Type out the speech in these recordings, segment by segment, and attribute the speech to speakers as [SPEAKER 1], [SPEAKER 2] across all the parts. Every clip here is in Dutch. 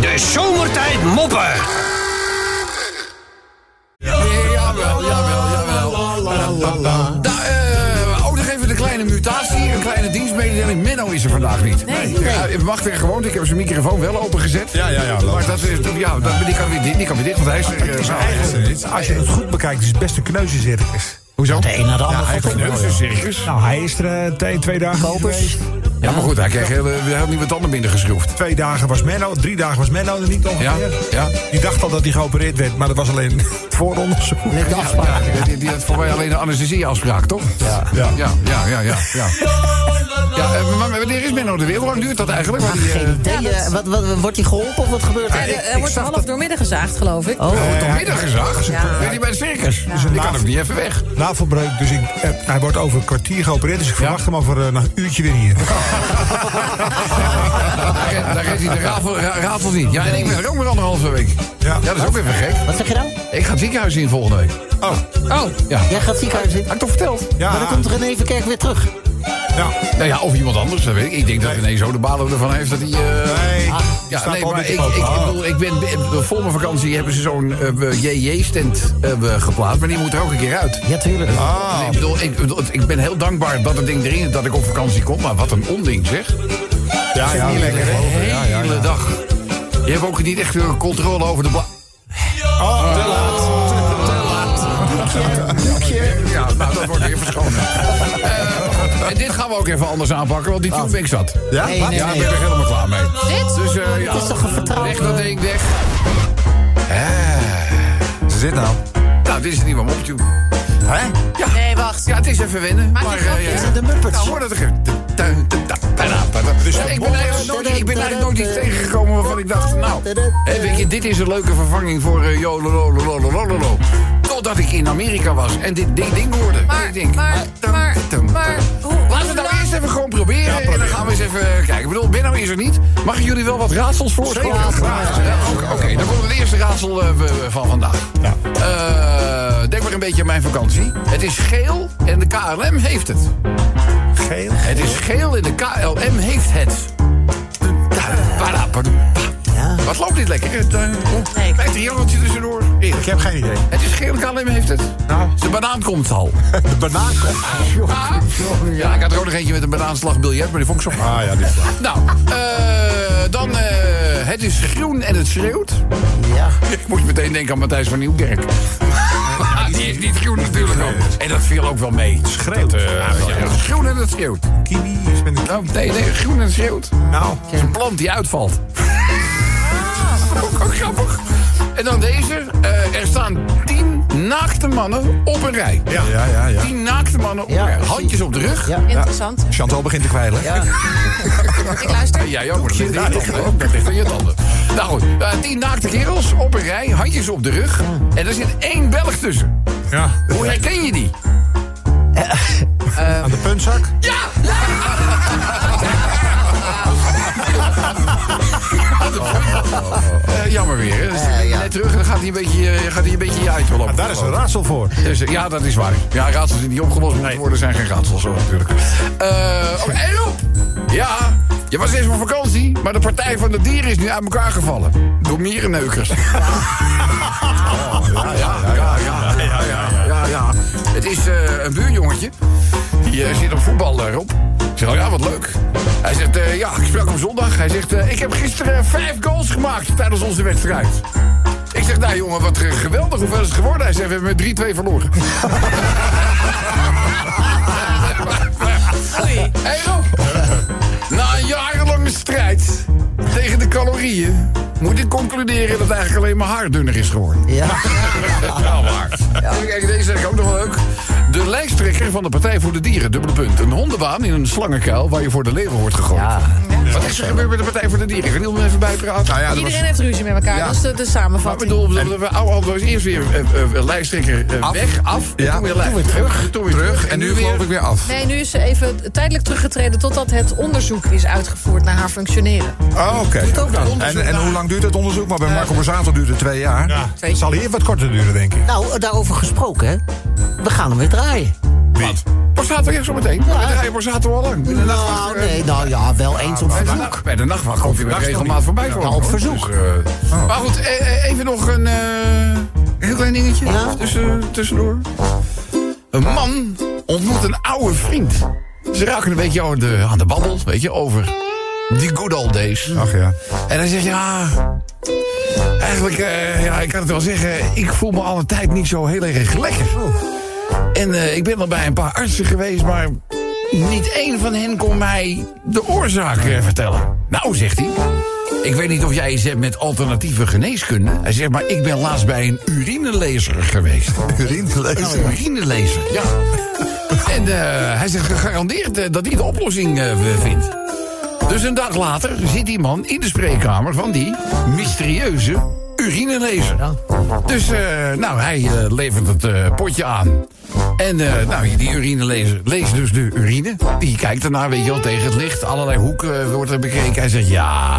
[SPEAKER 1] De zomertijd moppen.
[SPEAKER 2] Jawel, jawel, jawel. Da, eh, oh, nog even een kleine mutatie, een kleine dienstmededeling. Menno is er vandaag niet.
[SPEAKER 3] Nee.
[SPEAKER 2] Ja, het mag weer gewoon. Ik heb zijn microfoon wel opengezet.
[SPEAKER 4] Ja, ja, ja.
[SPEAKER 2] Maar dat is, ja, dat, die, kan weer, di- die kan weer dicht, want hij is er. eh, nou, hij is er niet.
[SPEAKER 5] Als je het goed bekijkt, is het best een kneuzenzirkus.
[SPEAKER 2] Hoezo?
[SPEAKER 5] De een naar de ander.
[SPEAKER 2] Hij heeft een circus.
[SPEAKER 5] nou, hij is er eh, twee, twee dagen dus- geweest.
[SPEAKER 2] Ja, maar goed, hij kreeg heel, eh, heel nieuwe tanden binnengeschroefd.
[SPEAKER 5] Twee dagen was Menno, drie dagen was Menno er niet ongeveer.
[SPEAKER 2] Ja, ja.
[SPEAKER 5] Die dacht al dat hij geopereerd werd, maar dat was alleen het vooronderzoek.
[SPEAKER 2] Ligt afspraak. die, die had voor mij alleen de anesthesieafspraak, toch? Ja. Ja, ja, ja, ja. ja, ja. eh, maar wanneer is Menno er weer? Hoe lang duurt dat eigenlijk? Want die, eh,
[SPEAKER 3] Ja, dat-
[SPEAKER 6] Eh, wat, wat, wordt hij geholpen of wat gebeurt
[SPEAKER 3] Ja,
[SPEAKER 6] er?
[SPEAKER 3] er-
[SPEAKER 2] ik-
[SPEAKER 3] er
[SPEAKER 2] ik
[SPEAKER 3] wordt
[SPEAKER 2] zag
[SPEAKER 3] half
[SPEAKER 2] dat-
[SPEAKER 3] doormidden gezaagd, geloof ik.
[SPEAKER 6] Oh.
[SPEAKER 5] Eh,
[SPEAKER 2] Wordt vanmiddag gezag?
[SPEAKER 3] Ja.
[SPEAKER 2] Weet je, bij het circus.
[SPEAKER 3] Ja.
[SPEAKER 2] Dus ik kan ook niet even weg.
[SPEAKER 5] Navelbreuk, dus ik, eh, hij wordt over een kwartier geopereerd. Dus ik verwacht hem over eh, een uurtje weer hier.
[SPEAKER 2] daar, daar is hij, de rafel, ra- rafel niet. Ja, en ik ben er ook weer anderhalve week. Ja,
[SPEAKER 5] Ja.
[SPEAKER 2] dat is ook even gek.
[SPEAKER 6] Wat zeg je nou?
[SPEAKER 2] Ik ga het ziekenhuis in volgende week. Had
[SPEAKER 5] Oh,
[SPEAKER 3] Oh,
[SPEAKER 6] Jij gaat het ziekenhuis in.
[SPEAKER 2] ik toch verteld?
[SPEAKER 5] ja.
[SPEAKER 6] Maar dan komt René Verkerk weer terug.
[SPEAKER 5] ja.
[SPEAKER 2] Nou ja, of iemand anders, dat weet ik. Ik denk dat René zo de balen ervan heeft dat hij... eh,
[SPEAKER 5] Nee, die
[SPEAKER 2] Ja,
[SPEAKER 5] staat
[SPEAKER 2] nee,
[SPEAKER 5] al
[SPEAKER 2] maar
[SPEAKER 5] met
[SPEAKER 2] ik,
[SPEAKER 5] de
[SPEAKER 2] ik,
[SPEAKER 5] poot.
[SPEAKER 2] ik
[SPEAKER 5] Oh.
[SPEAKER 2] bedoel, ik ben, ik- voor mijn vakantie hebben ze zo'n eh, JJ-stand eh, geplaatst. Maar die moet er ook een keer uit.
[SPEAKER 6] Ja, tuurlijk. Ah.
[SPEAKER 5] Oh.
[SPEAKER 2] Nee, ik, bedoel, ik, bedoel, ik ben heel dankbaar dat het ding erin is dat ik op vakantie kom. Maar wat een onding, zeg.
[SPEAKER 5] Ja, ja,
[SPEAKER 2] De
[SPEAKER 5] lekker. hè?
[SPEAKER 2] hele dag. Je hebt ook niet echt eh, controle over de bla...
[SPEAKER 5] Oh, te
[SPEAKER 2] Ja, nou, dat wordt weer verschonen. Eh, en dit gaan we ook even anders aanpakken, want die tune ben ik zat.
[SPEAKER 5] Ja,
[SPEAKER 6] Nee,
[SPEAKER 5] wat?
[SPEAKER 6] nee,
[SPEAKER 2] Ja,
[SPEAKER 6] nee.
[SPEAKER 2] ik ben er helemaal klaar mee.
[SPEAKER 3] dit?
[SPEAKER 2] Dus eh, ja,
[SPEAKER 6] Het is toch een vertrouwde-
[SPEAKER 2] weg dat ding, weg.
[SPEAKER 5] Wat is dit nou?
[SPEAKER 2] Nou, dit is niet mijn optune.
[SPEAKER 5] Hè?
[SPEAKER 2] Ja.
[SPEAKER 3] Nee, wacht.
[SPEAKER 2] Ja, het is even wennen. Maar,
[SPEAKER 3] die grapjes
[SPEAKER 2] eh,
[SPEAKER 3] zijn
[SPEAKER 6] de Muppets.
[SPEAKER 2] Nou, hoor dat er- da- da- da- da- da- da- Ja, Ik ben eigenlijk nooit- ik ben eigenlijk nooit iets tegengekomen waarvan ik dacht... nou, hè, weet je, dit is een leuke vervanging voor eh, yo, lo, lo, lo, lo, lo, lo, lo. Totdat ik in Amerika was en dit ding, ding hoorde. En
[SPEAKER 3] Maar,
[SPEAKER 2] ik denk,
[SPEAKER 3] maar,
[SPEAKER 2] dum,
[SPEAKER 3] maar,
[SPEAKER 2] dum,
[SPEAKER 3] maar,
[SPEAKER 2] dum.
[SPEAKER 3] hoe- hoe
[SPEAKER 2] Laten we het nou
[SPEAKER 3] lang-
[SPEAKER 2] eerst even gewoon proberen. En dan gaan we eens even eh, kijken. Ik bedoel, Benno is er niet. Mag ik jullie wel wat raadsels voorstellen? graag. Eh, Oké, oké, dan komt het eerste raadsel eh, we- we- van vandaag. Eh, denk maar een beetje aan mijn vakantie. Het is geel en de KLM heeft het.
[SPEAKER 5] Geel.
[SPEAKER 2] Het is geel en de KLM heeft het. Wat loopt dit lekker? Het eh, lijkt een jongeltje tussendoor. Eerlijk.
[SPEAKER 5] Ik heb geen idee.
[SPEAKER 2] Het is geel en KLM heeft het. De banaan komt al.
[SPEAKER 5] De banaan komt.
[SPEAKER 2] Nou. Ja, ik had er ook nog eentje met een banaanslagbiljet, maar die vond ik zo
[SPEAKER 5] Ah ja, die is
[SPEAKER 2] Nou, eh, dan eh, het is groen en het schreeuwt.
[SPEAKER 6] Ja.
[SPEAKER 2] Ik moest meteen denken aan Matthijs van Nieuwkerk. Maar die is niet groen natuurlijk ook. En dat viel ook wel mee.
[SPEAKER 5] Schreeuwt.
[SPEAKER 2] Dat, eh, ja, groen en het schreeuwt.
[SPEAKER 5] Kiwi is met een...
[SPEAKER 2] Nou, nee, nee, groen en het schreeuwt.
[SPEAKER 5] Nou,
[SPEAKER 2] Het is een plant die uitvalt. Ook ook grappig. En dan deze. eh, er staan tien naakte mannen op een rij.
[SPEAKER 5] ja, ja, ja. ja.
[SPEAKER 2] Tien naakte mannen op
[SPEAKER 6] Ja,
[SPEAKER 2] een rij.
[SPEAKER 6] precies.
[SPEAKER 2] Handjes op de rug.
[SPEAKER 6] Ja.
[SPEAKER 3] Interessant.
[SPEAKER 5] Chantal begint te kwijlen.
[SPEAKER 6] Ja.
[SPEAKER 3] Ik luister.
[SPEAKER 2] Ja, jij ook, maar dat ligt aan je tanden. hè? Dat ligt aan je tanden. Nou goed, eh, tien naakte kerels op een rij, handjes op de rug. En er zit één Belg tussen.
[SPEAKER 5] Ja.
[SPEAKER 2] Hoe herken je die?
[SPEAKER 5] Aan de puntzak.
[SPEAKER 2] Eh, jammer weer, hè? Dus die ben je net terug en dan gaat hij een beetje, eh, gaat hij een beetje je uit wel op.
[SPEAKER 5] Ah, Daar is een raadsel voor.
[SPEAKER 2] Dus, eh, ja, dat is waar. Ja, raadsels die niet opgelost moeten worden zijn geen raadsels, zo natuurlijk. Eh oh, en op! Ja, je was even op vakantie, maar de Partij van de Dieren is nu uit elkaar gevallen. Door mierenneukers. Ja, ja, ja, ja, ja, ja, ja, ja. Het is eh, een buurjongetje. Die eh, zit op voetbal daarop. Ik zeg, oh ja, wat leuk. Hij zegt, eh, ja, ik sprak hem zondag. Hij zegt, eh, ik heb gisteren vijf goals gemaakt tijdens onze wedstrijd. Ik zeg, nou jongen, wat eh, geweldig. Hoeveel is het geworden? Hij zegt, we hebben met 3-2 verloren.
[SPEAKER 3] Oei.
[SPEAKER 2] Hey Rob, na een jarenlange strijd tegen de calorieën... moet ik concluderen dat het eigenlijk alleen maar haar dunner is geworden.
[SPEAKER 6] Ja.
[SPEAKER 2] Ja, waar. Even kijken, deze is ik ook nog wel leuk. De lijsttrekker van de Partij voor de Dieren, dubbele punt. Een hondenbaan in een slangenkuil waar je voor de leeuwen wordt gegooid.
[SPEAKER 6] Ja.
[SPEAKER 2] Wat is er gebeurd met de Partij voor de Dieren? Kan iemand even bijpraten? Nou ja,
[SPEAKER 3] Iedereen heeft ruzie met elkaar. Dat is de, de
[SPEAKER 2] Maar ik
[SPEAKER 3] samenvatting.
[SPEAKER 2] bedoel, we- we oude was eerst weer eh, eh, lijsttrekker eh, weg, af. En
[SPEAKER 4] Ja.
[SPEAKER 2] toen weer lijsttrekker. Terug, toen weer terug.
[SPEAKER 4] En nu geloof ik weer af.
[SPEAKER 3] Nee, nu is ze even tijdelijk teruggetreden totdat het onderzoek is uitgevoerd naar haar functioneren.
[SPEAKER 4] Oh, oké. En, en hoe lang duurt het onderzoek? Maar bij Marco Borsato duurt het twee jaar.
[SPEAKER 5] Ja. Het zal hier wat korter duren, denk ik.
[SPEAKER 6] Nou, daarover gesproken, hè. We gaan hem weer draaien.
[SPEAKER 5] Wie?
[SPEAKER 2] Borsato, ja, zometeen. Maar We draaien Borsato al lang. In de nacht
[SPEAKER 6] Nou, nee, nou ja, wel eens op
[SPEAKER 2] Bij de
[SPEAKER 6] verzoek.
[SPEAKER 2] nacht- Bij de nachtwacht komt hij met regelmaat voorbij komen.
[SPEAKER 6] op
[SPEAKER 2] hoor.
[SPEAKER 6] verzoek.
[SPEAKER 2] Dus, eh, Maar goed, eh, eh, even nog een eh, heel klein dingetje
[SPEAKER 6] Ja.
[SPEAKER 2] tussen, tussendoor. Een man ontmoet een oude vriend. Ze raken een beetje aan de, aan de babbel, weet je, over die good old days.
[SPEAKER 4] Ach ja.
[SPEAKER 2] En hij zegt, ja... Eigenlijk, eh, ja, ik kan het wel zeggen... ik voel me alle tijd niet zo heel erg lekker. En eh, ik ben al bij een paar artsen geweest... maar niet één van hen kon mij de oorzaak eh, vertellen. Nou, zegt hij... Ik weet niet of jij iets hebt met alternatieve geneeskunde. Hij zegt, maar ik ben laatst bij een urinelezer geweest. Een urinelezer, ja. En eh, hij zegt gegarandeerd eh, dat hij de oplossing eh, vindt. Dus een dag later zit die man in de spreekkamer van die mysterieuze urinelezer. Dus eh, nou, hij eh, levert het eh, potje aan. En eh, nou, die urinelezer leest dus de urine. Die kijkt ernaar, weet je wel, tegen het licht. Allerlei hoeken eh, wordt er bekeken. Hij zegt ja.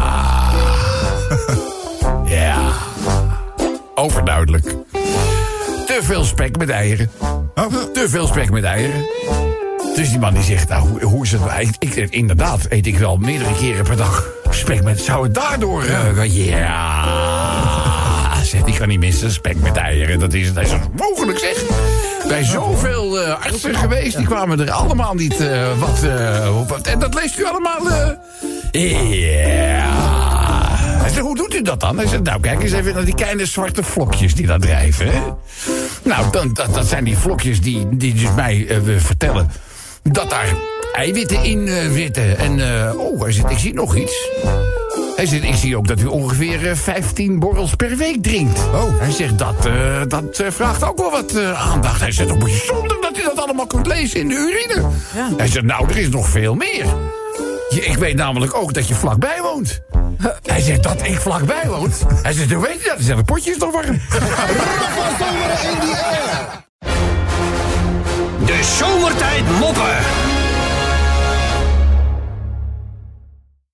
[SPEAKER 2] ja. Overduidelijk. Te veel spek met eieren. Te veel spek met eieren. Dus die man die zegt, nou, hoe, hoe is het? Ik, ik, inderdaad, eet ik wel meerdere keren per dag spek met... Zou het daardoor... eh, ja, zegt, ik kan niet missen, spek met eieren. Dat is het. Hij zegt, mogelijk zeg. Bij zoveel eh, artsen geweest, die kwamen er allemaal niet eh, wat, eh, wat... En dat leest u allemaal... eh, ja. Hij zegt, hoe doet u dat dan? Hij zegt, nou, kijk eens even naar die kleine zwarte vlokjes die daar drijven. Hè? Nou, dan, dat, dat zijn die vlokjes die, die dus mij eh, vertellen dat daar eiwitten in eh, zitten. En, eh, oh, hij zegt, ik zie nog iets. Hij zegt, ik zie ook dat u ongeveer eh, 15 borrels per week drinkt. Oh. Hij zegt, dat, eh, dat eh, vraagt ook wel wat eh, aandacht. Hij zegt, oh, bijzonder dat u dat allemaal kunt lezen in de urine. Hij zegt, nou, er is nog veel meer. Je- ik weet namelijk ook dat je vlakbij woont. Hij zegt dat ik vlakbij woon. Hij zegt, hoe weet je dat? Hij zegt, het potje is nog warm.
[SPEAKER 1] De zomertijd moppen.